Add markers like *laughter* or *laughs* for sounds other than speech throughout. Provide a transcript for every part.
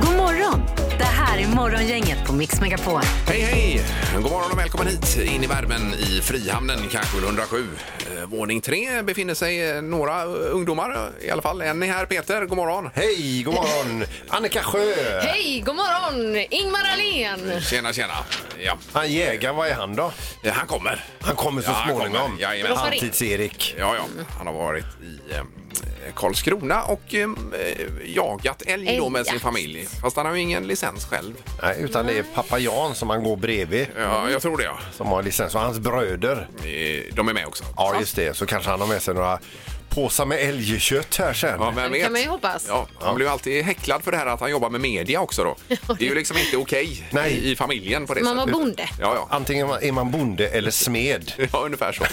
God morgon! Det här är Morgongänget på Mix Megapol. Hej, hej! God morgon och välkommen hit in i värmen i Frihamnen, Kajskjul 107. Eh, Våning 3 befinner sig eh, några eh, ungdomar eh, i alla fall. En är här, Peter. God morgon! Hej, *laughs* god morgon! Annika Sjö! Hej, god morgon! Ingmar Ahlén! Tjena, tjena! Ja, Han jägaren, vad är han då? eh, han kommer. Han kommer så Ja, han småningom. kommer. Jajamän. Halvtids-Erik. Ja, ja, han har varit i eh, Karlskrona och eh, jagat älg då med sin Älgjakt. familj. Fast han har ju ingen licens själv. Nej, utan det är pappa Jan som han går bredvid Ja, jag tror det, ja. som har licens. Och hans bröder. Eh, De är med också. Ja, just det. Så kanske han har med sig några påsar med älgkött här sen. Ja, vem Det vet? kan man ju hoppas. Ja, han blir ju alltid häcklad för det här att han jobbar med media *laughs* också då. Det är ju liksom inte okej Nej. i, i familjen på det Man var sättet. bonde. Ja, ja. Antingen är man bonde eller smed. Ja, ungefär *laughs* så.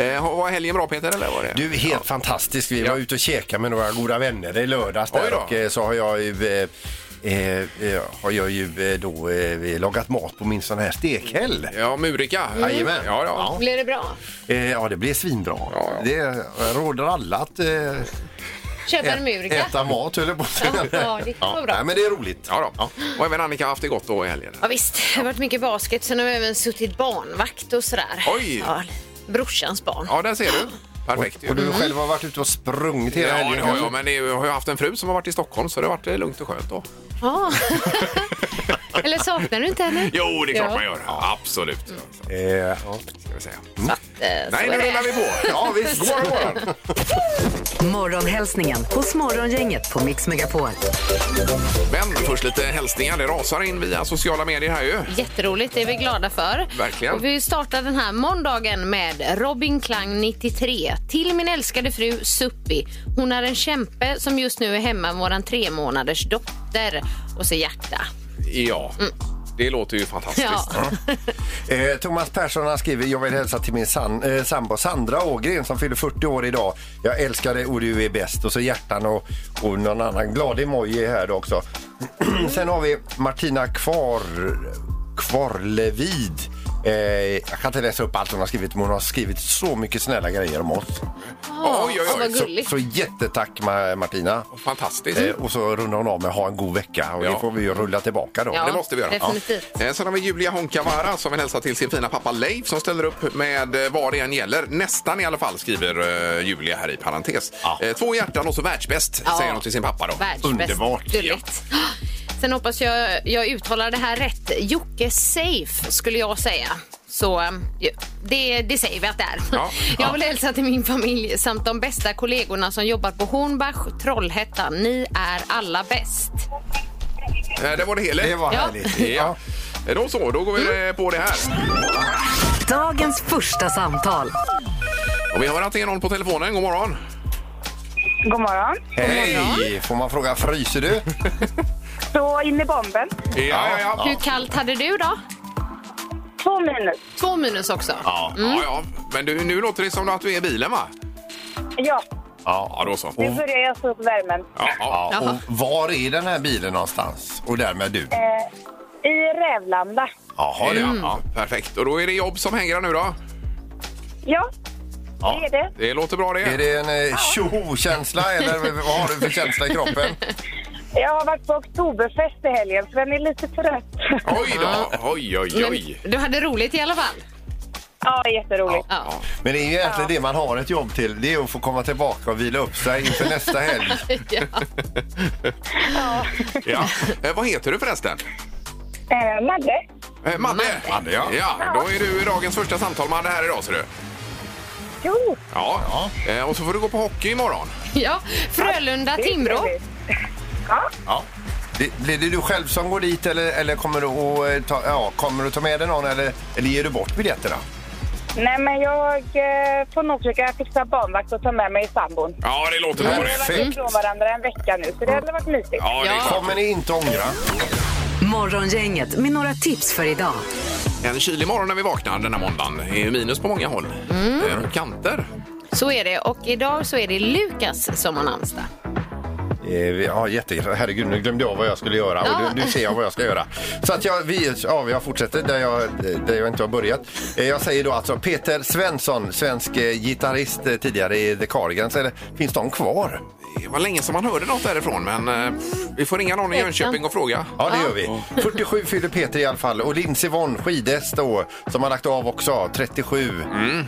eh, har- var helgen bra Peter eller var det? Du, helt fantastisk. Vi Ja. var ute och käkade med några goda vänner i lördags Oj där då. och eh, så har jag ju eh, Eh, eh, har jag ju eh, då eh, lagat mat på min sån här stekhäll. Ja, Murika. Mm. Jajamän. Mm. Ja, ja. Blir det bra? Eh, ja, det blir svinbra. Ja, ja. Det råder alla att eh, Köpa en ä- murka? äta mat, höll jag på att säga. Ja, det kan vara bra. Nej, men det är roligt. Ja, då. Och även Annika har haft det gott då i helgen. Ja, visst, det har varit mycket basket. Sen har vi även suttit barnvakt och sådär. Oj. Ja, brorsans barn. Ja, där ser du. Perfekt ju. Och du själv har varit ute och sprungit hela Mm. Ja, det helgen. har jag, men det är, ju- jag har ju haft en fru som har varit i Stockholm så det har varit eh, lugnt och skönt då. Ja. Eller saknar du inte henne? Jo, det är klart Ja. man gör. Absolut. Så, Eh, ja. ska vi säga. Eh, så Nej, är nu det. rullar vi på. ja, visst. God morgon, god morgon. Morgonhälsningen hos Morgongänget på Mix Megapol. Men först lite hälsningar. Det rasar in via sociala medier här ju. Jätteroligt, det är vi glada för. Verkligen. Och vi startar den här måndagen med Robin Klang 93. Till min älskade fru Suppi. Hon är en kämpe som just nu är hemma med våran tre månaders dotter. Och så hjärta. Ja, det låter ju fantastiskt. Mm. Ja. Eh, Thomas Persson han skriver Jag vill hälsa till min san, eh, sambo Sandra Ågren som fyller 40 år idag. Jag älskar dig och du är bäst. Och så hjärtan och, och någon annan glad emoji här då också. *clears throat* Sen har vi Martina Kvar, Kvarlevid. Eh, jag kan inte läsa upp allt hon har skrivit men hon har skrivit så mycket snälla grejer om oss. Oj, oj, Ja, oj. vad gulligt. Så jättetack Ma- Martina. Fantastiskt. Mm. Eh, och så rundar hon av med ha en god vecka och det Ja. får vi ju rulla tillbaka då. Ja. Det måste vi göra. definitivt. Ja. Eh, Sen har vi Julia Honkavara som vill hälsa till sin fina pappa Leif som ställer upp med eh, vad det än gäller. Nästan i alla fall, skriver eh, Julia här i parentes. Ja. Eh, Två hjärtan och så världsbäst, Ja. säger hon till sin pappa. Då. Världsbäst. Underbart. Gulligt. *gasps* Sen hoppas jag jag uttalar det här rätt. Jocke Safe skulle jag säga. Så eh, det, det säger vi att det är. Ja, *laughs* Jag vill hälsa till min familj samt de bästa kollegorna som jobbar på Hornbach, Trollhättan. Ni är alla bäst. Eh, Det var det hela. Det var Ja. Mm. härligt. Ja. Eh, Då så, då går vi eh, på det här. Dagens första samtal. Och vi har att det är någon på telefonen. God morgon. God morgon. Hej! Får man fråga, fryser du? Så in i bomben. Ja, ja, ja. Hur kallt hade du då? Två minus. Två minus också. Mm, Ja, ja, ja. Men du, nu låter det som att du är i bilen, va? Ja, Ja, då så. nu börjar jag stå upp värmen. Ja, ja. Ja, och var är den här bilen någonstans? Och därmed du? Eh, I Rävlanda. Jaha, det. Ja, ja, perfekt. Och då är det jobb som hänger nu då. Ja, Ja. det är det. Det låter bra det. Är det en eh, tjoho-känsla eller vad har du för känsla i kroppen? Jag har varit på Oktoberfest i helgen, så den är lite trött. Oj då, oj, oj, oj. Men du hade roligt i alla fall. ja, jätteroligt. Ja. Men det är ju egentligen det man har ett jobb till. Det är att få komma tillbaka och vila upp sig inför nästa *laughs* helg. Ja. Ja. Eh, vad heter du förresten? Eh, Madde? Eh, Madde. Madde ja. ja. Då är du i dagens första samtal Madde här idag ser du. Jo, Ja. Eh, och så får du gå på hockey imorgon. ja. Frölunda, det är Timrå. trevligt. Ja, Ja. Det, blir det du själv som går dit eller, eller kommer, du att, eh, ta, ja, kommer du ta med dig någon eller, eller ger du bort biljetterna? Nej, men jag eh, får nog försöka fixa barnvakt och ta med mig sambon. Ja, det låter Vi bra har det. varit Perfekt. ifrån varandra en vecka nu, så det hade varit mysigt. Mm. Ja, det är klart. Kommer ni inte ångra? Morgongänget med några tips för idag. En kylig morgon när vi vaknar denna måndagen. Det är ju minus på många håll. Eh, Och kanter. Så är det. Och idag så är det Lukas som har namnsdag. Eh, vi- Ja, jättegrattis. Herregud, nu glömde jag vad jag skulle göra. Ja. Och nu, nu ser jag vad jag ska göra. Så att jag, vi, ja, jag fortsätter där jag, där jag inte har börjat. Eh, Jag säger då alltså Peter Svensson, svensk eh, gitarrist eh, tidigare i The Cardigans. Eller, finns de kvar? Det var länge sedan man hörde något därifrån, men eh, vi får ringa någon i Jönköping och fråga. Ja, det gör vi. 47 fyller Peter i alla fall. Och Lindsey Vonn, skidhäst då, som har lagt av också, 37.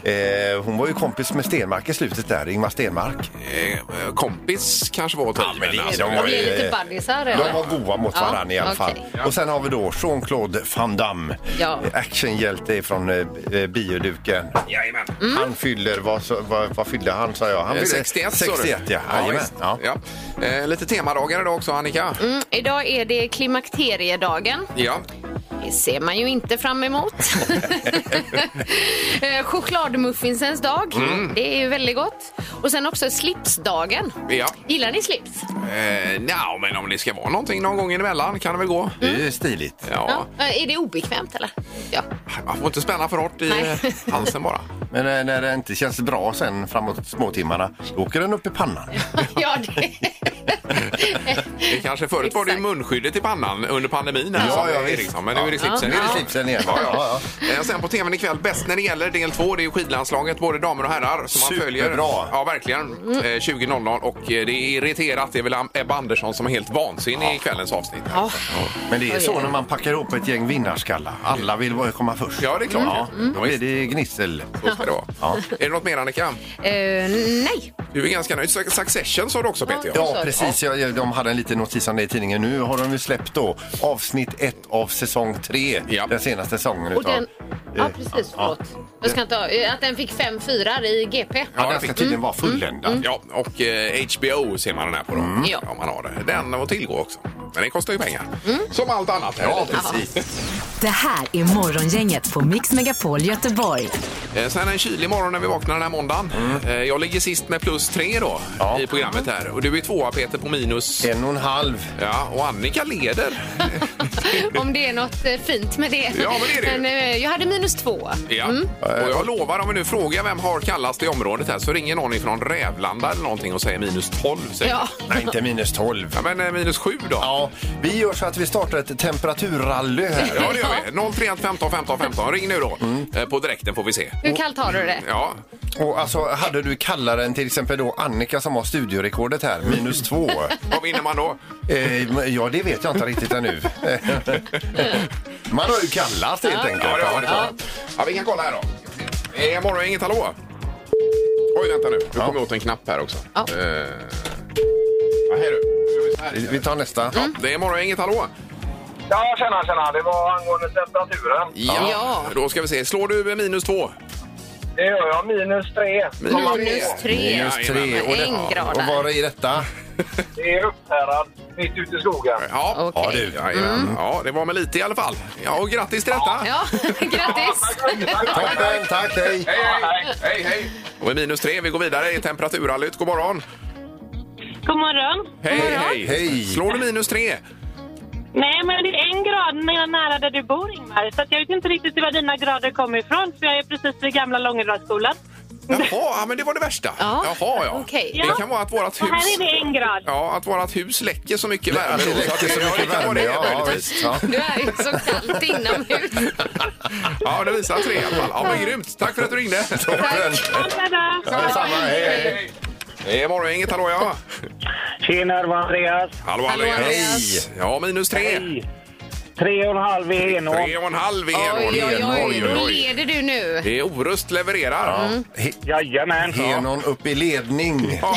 Eh, hon var ju kompis med Stenmark i slutet där, Ingmar Stenmark. Eh, eh, Kompis kanske var att ta i, men alltså, de var Det är ju- lite buddiesar. De eller? var goa mot Ja, varandra i alla fall. okej. Och sen har vi då Jean-Claude Van Damme. Ja. Eh, Actionhjälte från eh, eh, bioduken. Jajamän. Mm. Han fyller, vad, så- vad, vad fyllde han sa jag? Han Eh, fyllde 61 sa du? 61 ja. Jajamän. visst. Ja. Ja. Eh, Lite temadagar idag också, Annika. Mm, idag är det klimakteriedagen. Ja. Det ser man ju inte fram *laughs* emot. Eh, Chokladmuffinsens dag. Mm. Det är ju väldigt gott. Och sen också slipsdagen. Ja. Gillar ni slips? Eh, nja, men om det ska vara någonting någon gång emellan kan det väl gå. Det är ju stiligt. Ja. Eh, Är det obekvämt eller? *laughs* Ja. Man får inte spänna för hårt i eh, Nej. halsen bara. Men eh, när det inte känns bra sen framåt småtimmarna, då åker den upp i pannan. ja det... Det kanske förut var det ju Exakt. munskyddet i pannan under pandemin. här, Ja, som ja, är visst. liksom. Men nu är det Ja. slipsen. Nu är det igen. slipsen igen. Ja, ja, Eh, Sen på tvn ikväll, bäst när det gäller del två, det är ju skidlandslaget, både damer och herrar. Som man följer. Superbra. Ja, verkligen. Eh, 20.00 och eh, det är irriterat. Det är väl Am- Ebba Andersson som är helt vansinnig i kvällens avsnitt. Ja. Men det är så när man packar ihop ett gäng vinnarskallar. Alla vill bara komma först. Ja, det är klart. Ja, Mm. Då är det gnissel. Så ska det vara. Ja. Är det något mer Annika? Eh, nej. Du är ganska nöjd. Su- Succession sa du också Peter. Ja. Ja, precis. Jag- Jag, de hade en liten notis om det i tidningen. Nu har de ju släppt då avsnitt ett av säsong tre. Ja. Den senaste säsongen. Och utav- den... Ja, eh, precis. ja. Förlåt. Jag ska inte ha... eh, Att den fick fem fyrar i GP. Ja, den ska tydligen vara fulländad. Mm, Ja, och eh, HBO ser man den här på då. Mm. Ja. Mm. Om man har det. Den att tillgå också. Men den kostar ju pengar. Som allt annat. här i Ja, livet. precis. Det här är Morgongänget på Mix Megapol Göteborg. Eh, Sen en kylig morgon när vi vaknar den här måndagen. Eh, Jag ligger sist med plus tre då Mm. Ja. i programmet här. Och du är tvåa Peter på minus. En och en halv. Ja, och Annika leder. *laughs* Om det är något eh, fint med det. Ja, men det är det ju. Men, eh, jag hade minus två. Ja. Och jag lovar om vi nu frågar vem har kallast i området här så ringer någon ifrån Rävlanda eller någonting och säger minus 12. säkert. Ja. Nej, inte minus tolv. ja men eh, minus 7 då. Ja, vi gör så att vi startar ett temperaturrally här. Ja, det gör vi. 031 15 15 15. Ring nu då. Eh, På direkten får vi se. Hur kallt har du det? Ja, Och alltså, hade du kallare än till exempel då Annika som har studiorekordet här, minus två. vad vinner man då? Eh, men ja, det vet jag inte *laughs* riktigt ännu. Man har ju kallast helt enkelt. Ja, det har det klart. Ja, vi kan kolla här då. Det är morgon, inget hallå? Oj, vänta nu. Nu kommer jag åt en knapp här också. Ja. Eh, ja, här du. Nu gör vi så här Vi- istället. Vi tar nästa. Mm. Det är morgon, inget hallå? Ja, tjena, tjena. Det var angående temperaturen. Ja. Ja. Då ska vi se. Slår du eh, minus två? Det gör jag. Minus tre. Minus Minus tre. Minus tre. Jajamän. Och, det, En grad och här. var är detta? Det är upptärad mitt ute i skogen. Ja. Okej. Mm. Ja, du. Jajamän. Ja, det var med lite i alla fall. Ja, och grattis till detta! Ja, *laughs* grattis! Toppen, tack, hej! Hej, hej! hej, hej. Och med minus tre, vi går vidare i temperaturrallyt. God morgon! God morgon. Hej, hej. Hej. Slår du minus tre? Mm. Nej, men det är en grad nära- nära där du bor, Ingmar. Så att jag vet inte riktigt var dina grader kommer ifrån, för jag är precis vid gamla Långedalsskolan. Jaha, ja, men det var det värsta. Ja. Jaha, ja. Okej. Det kan vara att vårt Och här är hus... det en grad. Ja, att vårt hus läcker så mycket värme. Att då, det så att läcker så ja, Alltså, mycket det kan vara värme. det, Ja, möjligtvis. visst. Ja. Du är ju så kallt inomhus. Ja, det visar tre i alla fall. Ja, men grymt. Tack för att du ringde. Tack. Detsamma, hej, hej! Det är morgongänget. Hallå, ja. Tjena, det var Andreas. Hallå, Hallå, Andreas. Hej. Ja, minus tre. Tre och en halv i Henån. Tre och en halv i Oj, oj, oj, Enån. då leder du nu. Det är Orust levererar. He- Jajamän. Henon upp i ledning. Ja.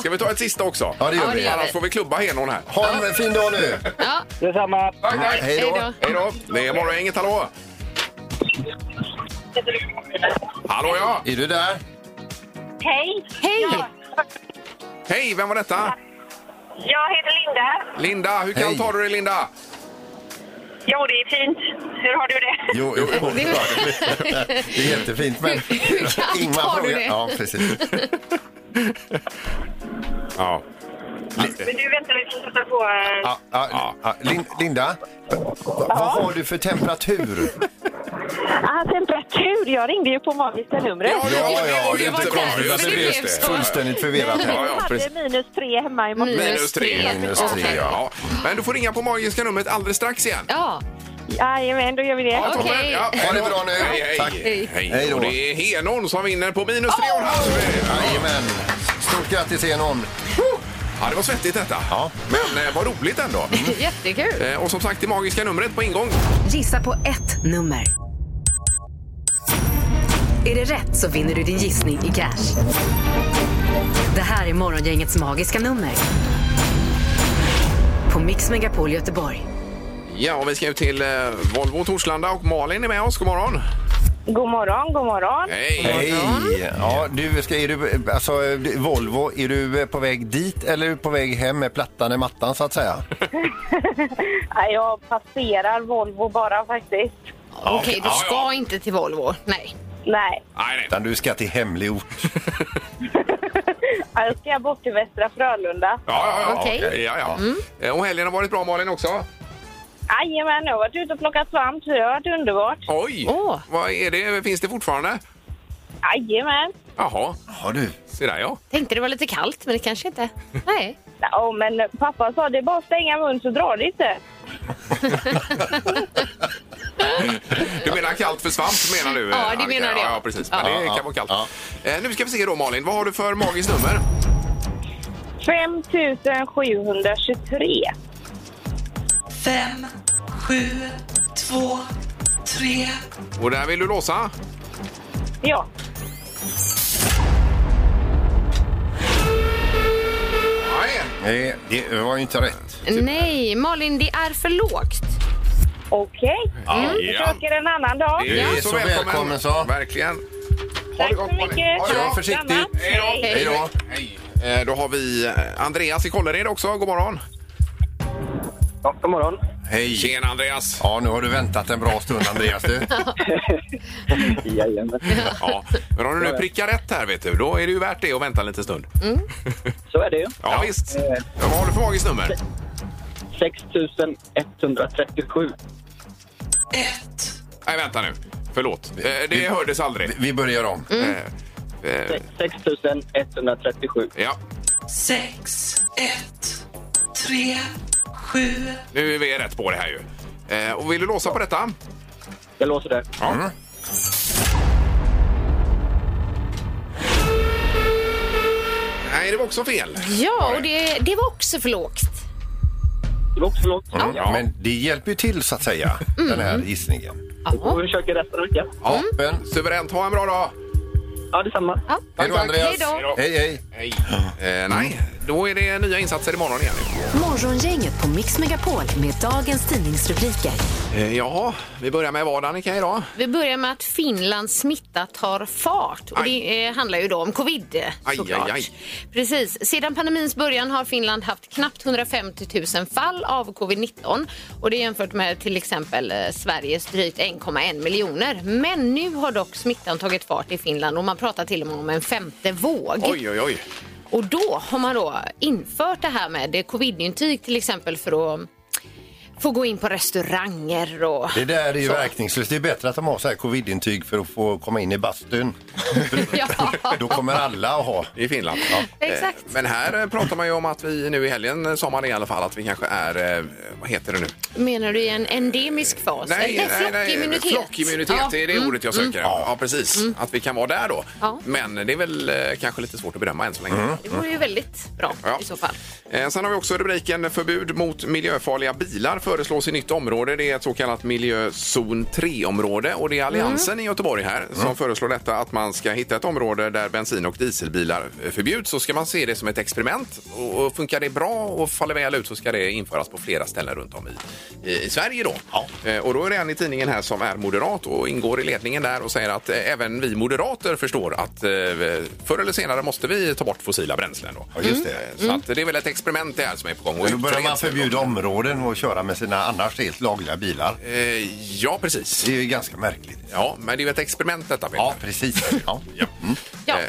Ska vi ta ett sista också? Ja, det Ja, gör det vi. gör Annars får vi klubba Henån här. Ha en fin dag nu! Ja, Detsamma. Tack, tack. Hej hej då! då. Hej då. Det är morgongänget. Hallå. Hallå, ja. Är du där? Hej. Hej! Hej, vem var detta? Jag heter Linda. Linda. Hur Hej. kallt har du det, Linda? Jo, det är fint. Hur har du det? Jo, jo, jo, det är jättefint. Men Hur kallt Ingmar har du frågar- det? Ja, precis. Ja. Men du, vänta, vi får sätta på... eh, Ja, ja, ja. Lin- Linda, vad har du för temperatur? Ah, temperatur! Jag ringde ju på magiska numret. Ja, ja, ja, det är var inte därför konstigt att det det blev blev det. så. Fullständigt förvirrat. Ja, här. ja, precis. minus tre hemma i morse. Minus tre. Minus tre, Okej. ja. Ja. Men du får ringa på magiska numret alldeles strax igen. Ja, Jajamän, då gör vi det. Ja, toppen. Okej. Ja, Ha det bra nu. Hej, hej. Tack. Hej. Hej då. Och det är Henon som vinner på minus tre och en halv. Jajamän. Stort grattis Enon. Ja, det var svettigt detta. Ja. Men eh, vad roligt ändå. jättekul. Eh, Och som sagt, det magiska numret på ingång. Gissa på ett nummer. Är det rätt så vinner du din gissning i cash. Det här är Morgongängets magiska nummer. På Mix Megapol Göteborg. Ja, och vi ska ut till eh, Volvo Torslanda och Malin är med oss. God morgon. God morgon, god morgon. Hej. Hej! Ja, du, ska, är du, alltså, du- Volvo, är du eh, på väg dit eller är du på väg hem med plattan i mattan så att säga? *laughs* Nej, Jag passerar Volvo bara faktiskt. Okej, du Ja, ska ja. inte till Volvo. Nej. Nej, Nej, nej. Utan du ska till hemlig ort. jag ska bort till Västra Frölunda. Ja, ja, ja. Okej. ja, ja. Eh, Och helgen har varit bra, Malin, också. Jajamän, jag har varit ute och plockat svamp så det har varit underbart. Oj! Åh. Vad är det? Finns det fortfarande? Jajamän. Jaha, Ja, du. se där ja. Tänkte det var lite kallt, men det kanske inte. Nej. Ja, men pappa sa det är bara att stänga mun så drar det inte. Du menar kallt för svamp menar du? Ja, det Annika? menar jag. Ja, ja, precis. Men Ja. det kan vara kallt. Eh, Nu ska vi se då Malin, vad har du för magiskt nummer? 5723. 5, 7, 2, 3. Och där vill du låsa? Ja, Nej. Nej, det var ju inte rätt. Nej, Malin, det är för lågt. okej. Mm, Ja. Försöker en annan dag. Du är så välkommen så. Verkligen. Ha det Tack gott, så Malin. mycket. Ha det Kör bra. försiktigt. Hej då. Hej. Hej då. Hej. Eh, Då har vi eh, Andreas i Kållered också. God morgon. Ja, god morgon. Hej! Tjena Andreas. Ja, nu har du väntat en bra stund Andreas du. Jajamän. Ja. Men om du nu prickar rätt här vet du, då är det ju värt det att vänta en liten stund. *laughs* Så är det ju. Ja, visst. Vad har du för magiskt nummer? 6137. 1, Nej, vänta nu. Förlåt. Eh, Det hördes aldrig. Vi börjar om. Mm. Eh, eh, 6137. Ja, 6, 1, 3, 7. nu är vi rätt på det här ju. Eh, Och vill du låsa på detta? Jag låser det. Ja. Nej, det var också fel. Ja, och det, det var också för lågt. Det var också lågt. Mm. Men det hjälper ju till så att säga, den här Mm. gissningen. Och vi försöker resten av veckan. Ja. Men, Suveränt. Ha en bra dag. Mm. Ja, detsamma. Ja. hej då Andreas! Hej då. Hej, hej! Hej. Eh, nej, då är det nya insatser imorgon igen. Morgongänget på Mix Megapol med dagens tidningsrubriker. Eh, ja, vi börjar med vad, Annika, idag? Vi börjar med att Finlands smitta tar fart. Och det eh, handlar ju då om covid. Aj, såklart. aj, aj. Precis. Sedan pandemins början har Finland haft knappt 150 000 fall av covid-19. Och Det är jämfört med till exempel eh, Sveriges drygt 1,1 miljoner. Men nu har dock smittan tagit fart i Finland och man pratar till och med om en femte våg. Oj, oj, oj. Och då har man då infört det här med covidintyg till exempel för att få gå in på restauranger och... Det där är ju verkningslöst. Det är bättre att de har så här covidintyg för att få komma in *laughs* i bastun. Ja. Då kommer alla att ha. I Finland. Ja. *laughs* Exakt. Eh, Men här eh, pratar man ju om att vi nu i helgen, eh, sa man i alla fall, att vi kanske är, eh, vad heter det nu? Menar du i en endemisk fas? Eller flockimmunitet? Flockimmunitet, Ja. Mm. det är det ordet jag söker. Mm. Ja, ja precis. Att vi kan vara där då. Ja. Men det är väl eh, kanske lite svårt att bedöma än så länge. Det vore ju väldigt bra Ja. i så fall. Eh, Sen har vi också rubriken Förbud mot miljöfarliga bilar föreslås i nytt område. Det är ett så kallat miljözon 3-område och det är Alliansen i Göteborg här som Mm. föreslår detta att man ska hitta ett område där bensin och dieselbilar eh, förbjuds. Så ska man se det som ett experiment och och funkar det bra och faller väl ut så ska det införas på flera ställen runt om i, i, i Sverige då. Eh, Och då är det en i tidningen här som är moderat och ingår i ledningen där och säger att eh, även vi moderater förstår att eh, förr eller senare måste vi ta bort fossila bränslen då. Ja, just det. Så att det är väl ett experiment det här som är på gång. Och Och då börjar man förbjuda områden och köra med med sina annars helt lagliga bilar. Eh, ja, precis. Det är ju ganska märkligt. Ja, men det är ju ett experiment detta. Peter. Ja, precis. Ja. Ja. Ja. Eh.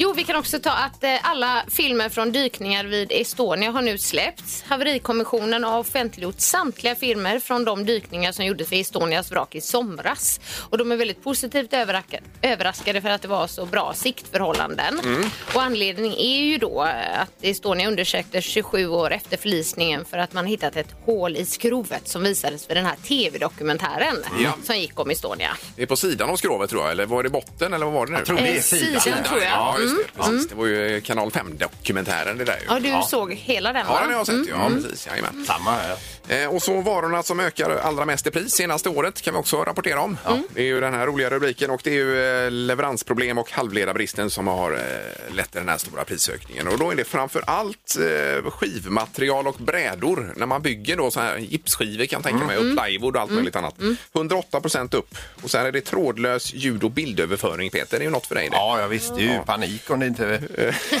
Jo, vi kan också ta att eh, alla filmer från dykningar vid Estonia har nu släppts. Haverikommissionen har offentliggjort samtliga filmer från de dykningar som gjordes vid Estonias vrak i somras. Och de är väldigt positivt överraska- överraskade för att det var så bra siktförhållanden. Mm. Och anledningen är ju då eh, att Estonia undersöktes 27 år efter förlisningen för att man hittat ett hål i skrovet som visades för den här tv-dokumentären Ja. som gick om Estonia. Det är på sidan av skrovet tror jag, eller var det botten eller vad var det nu? Jag tror det är Eh, sidan, sidan, tror jag. Mm. Ja, just det. Precis. Det var ju kanal 5-dokumentären det där ju. Ja, du såg hela den Ja, va? den har jag sett. Ja, Mm. precis. Jajamän. Samma här. Eh, och så varorna som ökar allra mest i pris senaste året kan vi också rapportera om. Det är ju den här roliga rubriken och det är ju eh, leveransproblem och halvledarbristen som har eh, lett till den här stora prisökningen. Och då är det framför allt eh, skivmaterial och brädor när man bygger då så här gipsskivor kan jag tänka mig Mm. och plywood och allt möjligt annat. 108 procent upp. Och sen är det trådlös ljud och bildöverföring Peter, det är ju något för dig det. Ja, jag visste ju panik om det inte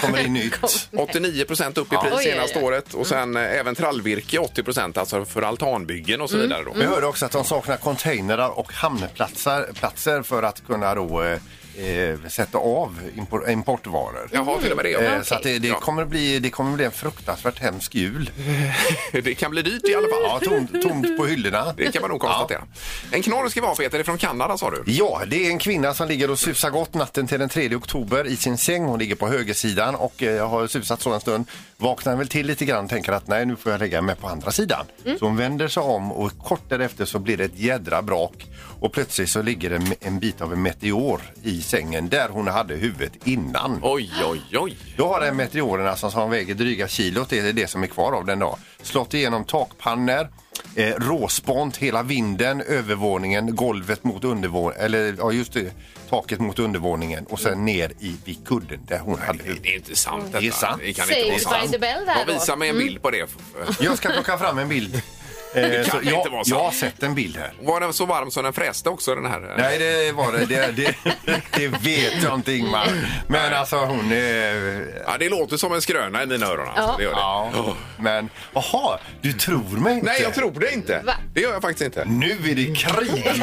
kommer in nytt. 89 procent upp i pris Oj, oj, Mm. oj. senaste året och sen eh, även trallvirke 80 procent, alltså för altanbyggen och så Mm. vidare. Då. Vi hörde också att de saknar containrar och hamnplatser platser för att kunna då, eh, eh, sätta av impor- importvaror. Jaha, till och med det. Eh, ja. Så att det, det, Ja. kommer bli, det kommer bli en fruktansvärt hemsk jul. *laughs* Det kan bli dyrt i alla fall. Ja, tomt, tomt på hyllorna. Det kan man nog konstatera. En knorr ska vara Peter, det är från Kanada sa du. Ja, det är en kvinna som ligger och susar gott natten till den 3 oktober i sin säng. Hon ligger på högersidan och eh, har susat så en stund. Vaknar väl till lite grann och tänker att nej, nu får jag lägga mig på andra sidan. Mm. Så hon vänder sig om och kort därefter så blir det ett jädra brak och plötsligt så ligger det en, en bit av en meteor i sängen där hon hade huvudet innan. Oj, oj, oj. Då har den meteorerna som, som väger dryga kilot, det är det som är kvar av den då, slått igenom takpannor, eh, råspont, hela vinden, övervåningen, golvet mot undervåningen, eller ja just det, taket mot undervåningen och sen ner i vid kudden där hon hade Det, det är inte sant detta. Det är sant. Det kan Saved inte by vara sant. the bell där Ja, då. visa mig en bild på det. Jag ska plocka fram *laughs* en bild. Eh, kan så inte jag, vara sant. jag har sett en bild här. Var den så varm som den fräste också den här? Nej, det var det. Det, det, det vet jag inte, Ingmar. Men alltså hon... Eh, Ja, det låter som en skröna i mina öron. Alltså. Ja. Det gör det. ja, men... Jaha, du tror mig inte? Nej, jag tror det inte. Va? Det gör jag faktiskt inte. Nu är det krig!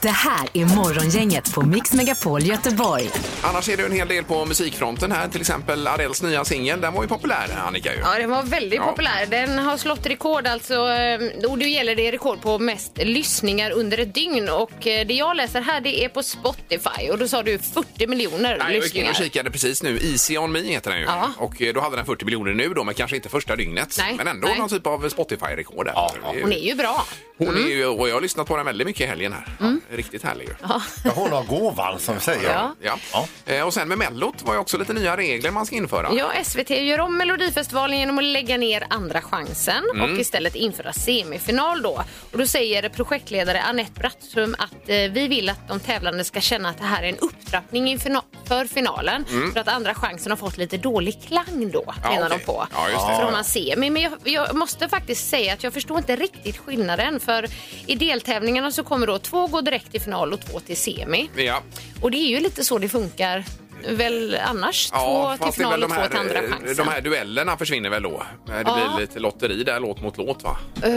Det här är Morgongänget på Mix Megapol Göteborg. Annars är det ju en hel del på musikfronten här. Till exempel Adels nya singel. Den var ju populär, Annika. Ju. Ja, den var väldigt Ja. populär. Den har slått rekord alltså. eh, Och det gäller det rekord på mest lyssningar under ett dygn. Och eh, det jag läser här det är på Spotify. Och då sa du 40 miljoner Nej, jag gick in lyssningar. och kikade precis nu. Easy on me heter den ju. Ja. Och eh, då hade den 40 miljoner nu då, men kanske inte första dygnet. Nej, Men ändå nej. någon typ av Spotify-rekord där. Det är ju- Hon är Mm. ju bra. Hon är ju, och jag har lyssnat på den väldigt mycket i helgen här. Mm. Ja, Riktigt härlig ju. Ja. Ja, hon har gåvan som vi säger. Ja. Eh, Och sen med Mellot var ju också lite nya regler man ska införa. Ja, SVT gör om Melodifestivalen genom att lägga ner Andra chansen Mm. och istället införa semifinal då. Och då säger projektledare Anette Brattström att eh, vi vill att de tävlande ska känna att det här är en upptrappning inför, för finalen. För att Andra chansen har fått lite dålig klang då, Mm. Ja, menar okej. de på. Ja, just det. Från Ja. man ser. Men men jag, jag måste faktiskt säga att jag förstår inte riktigt skillnaden. För i deltävlingarna så kommer då två gå direkt till final och två till semi. Ja, Och det är ju lite så det funkar väl annars. ja två till fast det är final väl och de två här, till andra eh, chansen. de här duellerna försvinner väl då? Eh, Det Ja. blir lite lotteri där, låt mot låt va? Eh,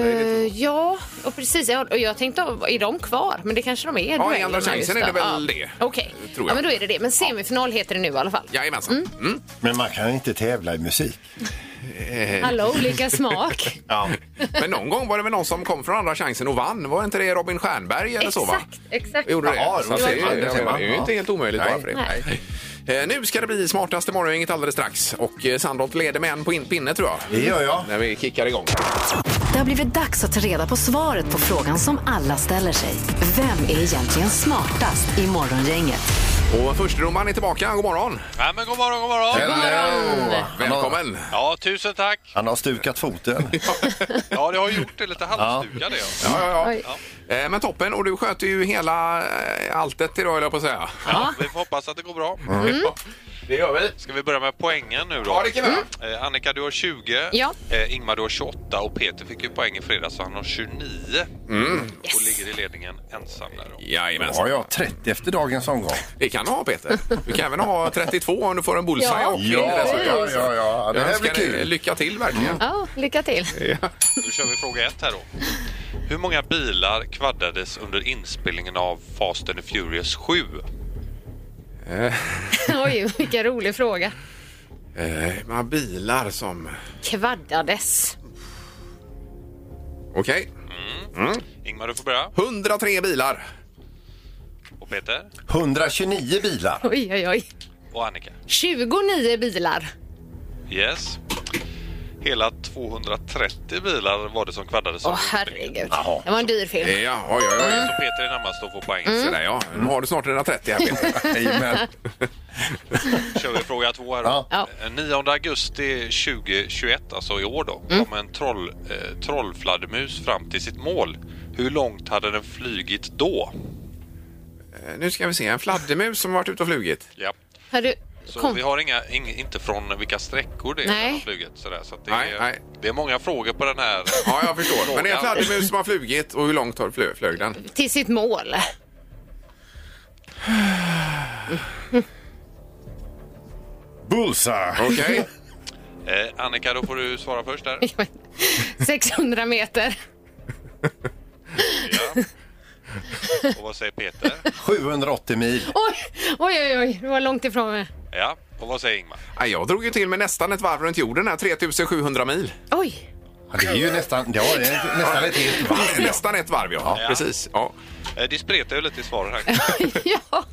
ja, och precis. Ja, och jag tänkte, är de kvar? Men det kanske de är. i duellerna Andra chansen just är då. det väl det, Okej, tror jag. ja, men då är det det. Men semifinal heter det nu i alla fall. Jajamensan. Mm. Men man kan inte tävla i musik. Alla olika *laughs* smak. Ja. Men någon gång var det väl någon som kom från Andra chansen och vann? Var inte det Robin Stjernberg eller så? Va? exakt, exakt. gjorde det. Ja, Så att det det, var är- det. jag menar, det är ju Ja. inte helt omöjligt bara Nej. för det. Nej. Eh, Nu ska det bli smartaste morgongänget alldeles strax och eh, Sandholt leder med en på in- pinne tror jag. Det gör jag. När vi kickar igång. Det har blivit dags att ta reda på svaret på frågan som alla ställer sig. Vem är egentligen smartast i Morgongänget? Och förstedomaren är tillbaka. God morgon! Ja, men god morgon, god morgon. Hello. Välkommen! Ja, tusen tack. Han har stukat foten. Ja, det har ju gjort det lite halvstukade. Ja. Ja, ja, ja. Eh, Men toppen, och du sköter ju hela eh, alltet idag, höll jag på att säga. Mm. Mm. Vi får hoppas att det går bra. Ja, Det gör vi. Ska vi börja med poängen nu då? Ja, det kan vi göra. Mm. Eh, Annika, du har 20. Ja. Eh, Ingmar, du har 28 och Peter fick ju poäng i fredags så han har 29. Mm. Och ligger i ledningen ensam där. då. Då Jajamensan. har jag 30 efter dagens omgång. Det kan du ha Peter. Du kan även ha 32 om du får en bullseye Ja, och vinner Ja, dessutom. ja, ja, ja. Det Jag här blir önskar dig kul. lycka till verkligen. Ja, *laughs* lycka till. Ja. Nu kör vi fråga ett här då. Hur många bilar kvaddades under inspelningen av Fast and the Furious 7? Oj, vilken rolig fråga. Eh, man har bilar som... Kvaddades. Okej. Ingmar, du får börja. 103 bilar. Och Peter 129 bilar. Oj, oj, oj. och Annika. 29 bilar. Yes. Hela 230 bilar var det som kvaddades. Åh, under inspelningen. herregud. Det var en dyr Eh, film. Ja, oj, oj, oj. Så Peter är närmast att få poäng. Sådär ja. Nu har du snart 130 här Peter. Jajamän. kör vi fråga två här då. Ja. Ja. Eh, 9 augusti 2021, alltså i år då, kom en troll, eh, trollfladdermus fram till sitt mål. Hur långt hade den flygit då? Eh, Nu ska vi se. En fladdermus som har varit ute och flugit. Ja. Har du... Så Kom. vi har inga, ing, inte från vilka sträckor det är Nej. den har flugit. Sådär, så att det, Nej, är, nej. det är många frågor på den här. *laughs* Ja, jag förstår. Men det är en Frågan. fladdermus som har flugit och hur långt har flö- flög den? Till sitt mål. *laughs* Bullseye. Okej. *laughs* Eh, Annika, då får du svara först där. 600 meter. Ja. Och vad säger Peter? 780 mil. Oj, oj, oj, oj. det var långt ifrån mig. Ja. Och vad säger Ingmar? Ja, Jag drog ju till med nästan ett varv runt jorden här. 3700 mil. Oj, *laughs* Ja, det är ju nästan, ja, det är nästan ett helt varv. *laughs* ja. Nästan ett varv ja. Ja. Precis. Ja. Eh, det spretar ju lite i svaren *laughs* här. ja.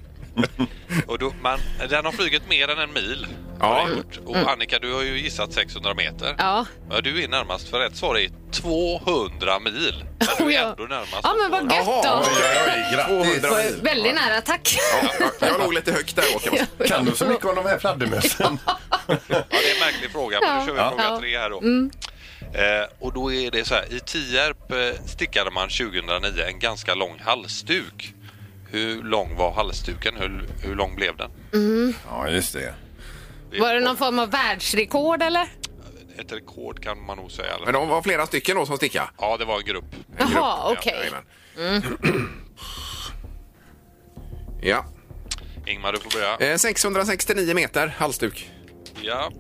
Och då, man, den har flugit mer än en mil. Ja. Har den gjort. Och Annika, du har ju gissat 600 meter. Ja. Ja, du är närmast, för rätt svar är 200 mil. Men Oh, du är ja. ändå närmast. ja, men vad gött Jaha, då. oj, oj, oj, grattis. 200 mil. *laughs* Väldigt nära, tack. Ja, Jag låg lite högt där åt kan man säga. Kan du så mycket om de här fladdermössen? Ja, det är en märklig fråga, men nu Ja. kör vi Ja. fråga Ja. tre här då. Eh, och då är det så här, i Tierp eh, stickade man 2009 en ganska lång halsduk. Hur lång var halsduken? Hur, hur lång blev den? Ja, just det. Var det någon form av världsrekord eller? Ett rekord kan man nog säga. Men Eller? de var flera stycken då som stickade. Ja, det var en grupp. Jaha, okej. Jajamän. Mm. *clears throat* Ja. Ingmar, du får börja. Eh, 669 meter halsduk. Ja.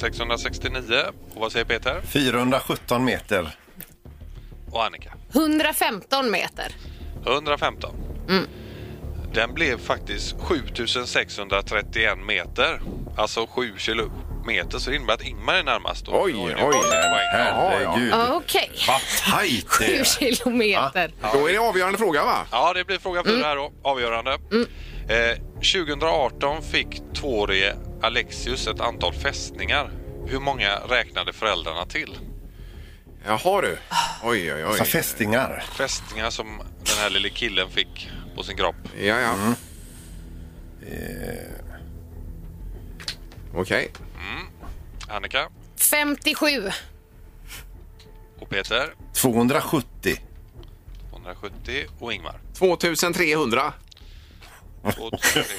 669. Och vad säger Peter? 417 meter. Och Annika? 115 meter. 115. Den blev faktiskt 7631 meter. Alltså 7 kilometer. Så det innebär att Ingmar är närmast. Och Oj, då är det oj. poäng. Herregud. Ja, Okej, Vad tajt det 7 är. Alltså, kilometer. Då är det avgörande fråga va? Ja, det blir fråga fyra här då. Avgörande. Eh, 2018 fick tvåårige Alexius ett antal fästningar. Hur många räknade föräldrarna till? Jaha du. Ah. Oj, oj, Massa oj. fästingar. Fästningar som den här lille killen fick på sin kropp. Ja, ja. Eh, Okej. Annika 57. och Peter 270. 270 och Ingmar 2300. 2300.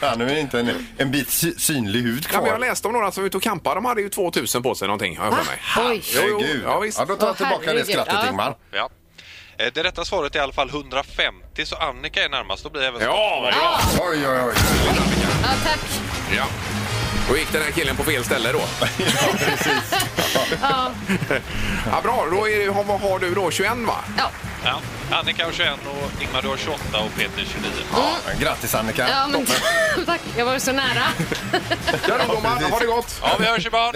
Ja, nu är det inte en, en bit sy- synlig hud Ja, men kvar. jag läste om några som var ute och campade. De hade ju 2000 på sig någonting, har jag för mig. Oj. Jo, jo. Herregud. Ja, visst. Ja, då tar Åh, jag tillbaka det herregud. skrattet, Ja. Ingmar. Ja. Eh, Det rätta svaret är i alla fall 150 så Annika är närmast. Då blir det även Ja, vad bra! Oj, oj, oj. Ja, tack. Ja. Då gick den här killen på fel ställe då. *laughs* ja, bra, då är det, har- vad har du då? 21 va? Ja. Ja. Annika har 21 och Ingmar du har 28 och Peter 29. Grattis, Annika. Ja, men *laughs* tack. Jag var så nära. Ja, då, domaren, ha det gott! Ja, vi hörs imorgon!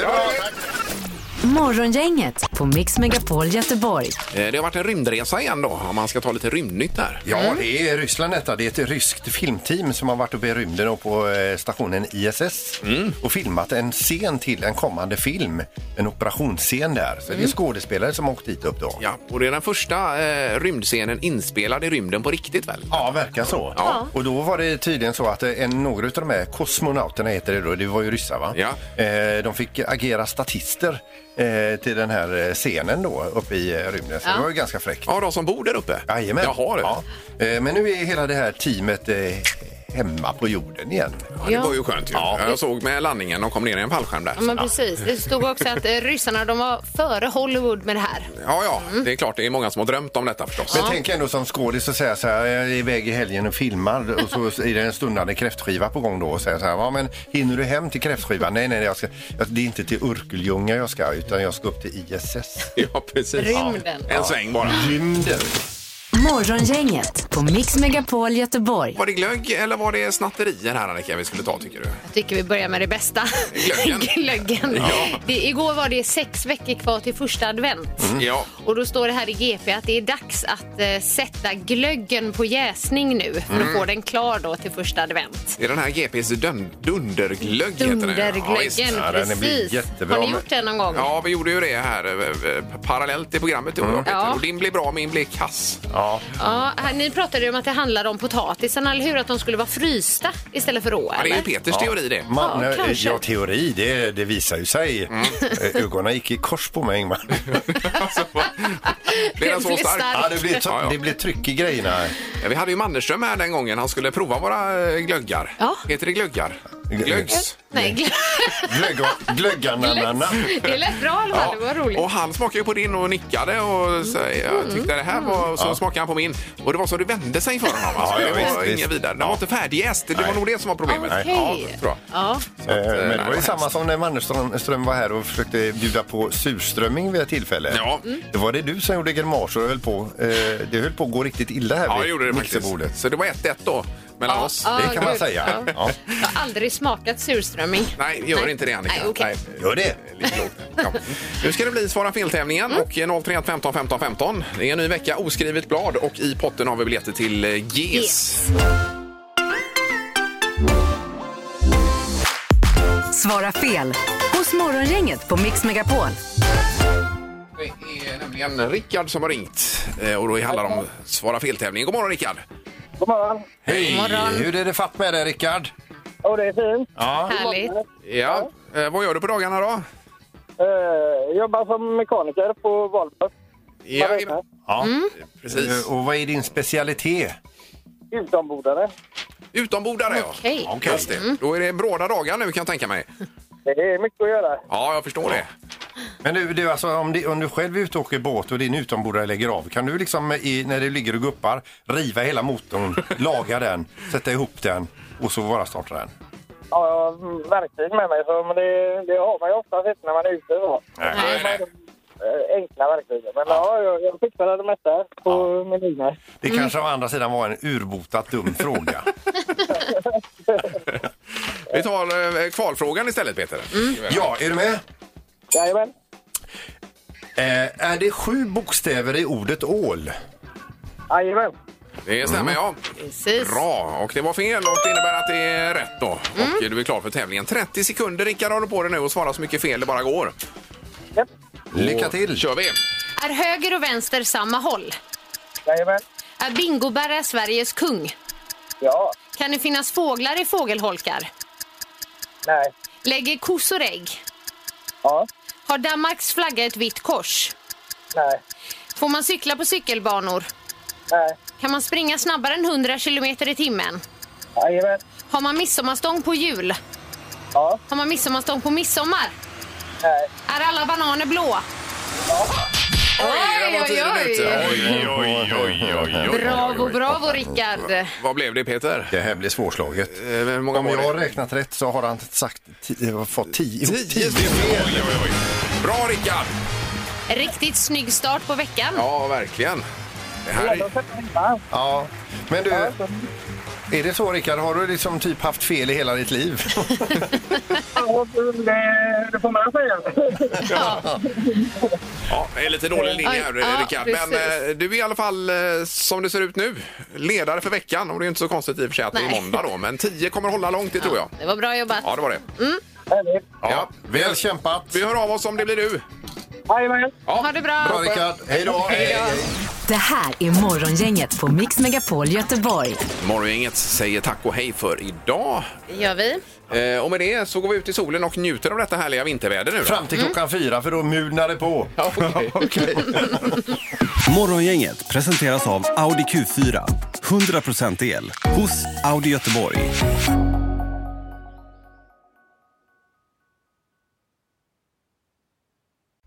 Morgongänget på Mix Megapol Göteborg. Eh, Det har varit en rymdresa igen då, om man ska ta lite rymdnytt där. Ja, det är Ryssland detta. Det är ett ryskt filmteam som har varit uppe i rymden och på eh, stationen ISS Mm. och filmat en scen till en kommande film. En operationsscen där. Så det Mm. är skådespelare som har åkt dit upp då. Ja, och det är den första eh, rymdscenen inspelad i rymden på riktigt väl? Ja, verkar så. Ja. Och då var det tydligen så att eh, en, några av de här kosmonauterna heter det då, det var ju ryssar va? Ja. Eh, de fick agera statister eh, till den här eh, scenen då uppe i eh, rymden. Så det var ju ganska fräckt. Ja, de som bor där uppe? Jajamän. Jaha, du. Ja. Eh, Men nu är hela det här teamet eh, hemma på jorden igen. Ja, det var ju skönt ju. Jag såg med landningen, de kom ner i en fallskärm där. Ja, men precis. Det stod också att eh, ryssarna de var före Hollywood med det här. Ja, ja, Mm. det är klart. Det är många som har drömt om detta förstås. Men tänk ändå som skådis och säga så här, jag är iväg i helgen och filmar och så är det en stundande kräftskiva på gång då och säga så här, ja men hinner du hem till kräftskivan? Nej, nej, jag ska, jag, det är inte till Örkeljunga jag ska utan jag ska upp till ISS. *laughs* Ja, precis. Rymden. En sväng bara. Rymden. Morgongänget på Mix Megapol Göteborg. Var det glögg eller var det snatterier här Annika vi skulle ta tycker du? Jag tycker vi börjar med det bästa. Glöggen. *laughs* Glöggen. Ja. Det, igår var det sex veckor kvar till första advent. Ja. Och då står det här i GP att det är dags att eh, sätta glöggen på jäsning nu för Mm. att få den klar då till första advent. Det är den här GPs dun- dunderglögg heter den. Dunderglöggen, Ja, visst. Ja, den blir precis. jättebra Har ni med- gjort det någon gång? Ja, vi gjorde ju det här eh, eh, parallellt i programmet. Mm. Ja. Och din blev bra, min blev kass. Ja, Ja, här, ni pratade ju om att det handlade om potatisen, eller hur? Att de skulle vara frysta istället för rå, Ja, det är ju eller? Peters teori det. Man, Ja, eh, kanske. Mm. ja, teori, det, det visar ju sig. Eh, Ögonen gick i kors på mig, Ingmar. *laughs* Blev den så blir stark? stark. ja, det, blir Ja, ja. det blir tryck i grejerna. Ja, Vi hade ju Mannerström här den gången. Han skulle prova våra eh, glöggar. Ja. Heter det glöggar? Glöggs. Nej, glögg. Glögg- Glöggananana. Det lät bra i alla fall. Det var roligt. Mm. Och han smakade ju på din och nickade och så, jag tyckte det här var... Så smakade han på min. Och det var så det vände sig för honom. Alltså, Ja, ja, det var visst, inget visst. vidare. Den var inte färdigjäst. Det var Nej. nog det som var problemet. Okej. Ja, tror jag. Ja. Eh, Men det var ju hemskt. samma som när Mannerström Ström var här och försökte bjuda på surströmming vid ett tillfälle. Ja. Det var det du som gjorde grimaser och höll på. eh, Det höll på att gå riktigt illa här Ja, vid jag gjorde det mixerbordet. faktiskt. Så det var 1-1 då mellan oss. Ja, Det kan man gud. säga. Ja. Ja. Jag har aldrig smakat surströmming. Nej, gör inte det Annika. Nej, okej. Gör det. lite lågt. Ja. Nu ska det bli Svara fel-tävlingen Mm. och eh, 031 15 15 15. Det är en ny vecka, oskrivet blad och i potten har vi biljetter till eh, GES. Yes. Svara fel hos Morgongänget på Mix Megapol. Det är nämligen Rickard som har ringt eh, och då handlar det om Svara fel-tävlingen. God morgon Rickard! God morgon. Hej! Hur är det fatt med dig, Rickard? Och det är fint. Härligt. Ja. Eh, vad gör du på dagarna då? Eh, jobbar som mekaniker på Valborg. Ja, räknar. Ja. precis. Eh, Och vad är din specialitet? Utombordare. Utombordare ja. Okej. Okay. Just det. Då är det bråda dagar nu kan jag tänka mig. Det är mycket att göra. Ja, jag förstår det. Men du, du alltså, om, det, om du själv är ute och åker båt och din utombordare lägger av, kan du liksom i, när du ligger och guppar riva *laughs* hela motorn, laga den, sätta ihop den och så bara starta den? Ja, jag har verktyg med mig, så, men det, det har man ju oftast inte när man är ute. Så. Nej, nej. Eh, Enkla verktyg. Men ja, jag, jag fixade det mesta på min egna. Det kanske Mm. å andra sidan var en urbotat dum *laughs* fråga. Vi tar eh, kvalfrågan istället Peter. Ja, är du med? Jajamän. Eh, är det sju bokstäver i ordet ål? Jajamän. Det stämmer ja. Precis. Bra, och det var fel och det innebär att det är rätt då. Och du är klar för tävlingen. 30 sekunder Rickard håller på det nu och svarar så mycket fel det bara går. Japp. Lycka Och till! kör vi! Är höger och vänster samma håll? Jajamän. Är bingobär Sveriges kung? Ja. Kan det finnas fåglar i fågelholkar? Nej. Lägger kossor ägg? Ja. Har Danmarks flagga ett vitt kors? Nej. Får man cykla på cykelbanor? Nej. Kan man springa snabbare än 100 kilometer i timmen? Jajamän. Har man midsommarstång på jul? Ja. Har man midsommarstång på midsommar? Nej. Är alla bananer blå? Där var tiden oj, ute. oj. Oj, oj, oj, oj, oj. Bravo, bravo Rickard! Vad blev det Peter? Det här blir svårslaget. Eh, Hur många Om var jag har det? räknat rätt så har han sagt ti- eh, fått tio. Tio stycken. Oj, oj, oj. Bra Rickard! Riktigt snygg start på veckan. Ja, verkligen. Det här Jag är... sätter hemma. Ja. Men du, är det så Rickard? Har du liksom typ haft fel i hela ditt liv? Ja, det- Det får man säga. Ja, det är lite dålig linje här Ja, Rickard. Men precis. eh, du är i alla fall, eh, som det ser ut nu, ledare för veckan. Och det är inte så konstigt i och för sig att det är Nej. måndag då. Men 10 kommer hålla långt, det tror jag. Det var bra jobbat. Ja, det var det. Mm. Härligt. Ja. Väl kämpat! Vi hör av oss om det blir du. Jajamän. Ha det bra! Bra Rickard! Hej då! Det här är Morgongänget på Mix Megapol Göteborg. Morgongänget säger tack och hej för idag. gör vi. Eh, och med det så går vi ut i solen och njuter av detta härliga vinterväder nu. Fram till klockan fyra för då mulnar det på. *laughs* Ja, okej. Morgongänget presenteras av Audi Q4. 100% el hos Audi Göteborg.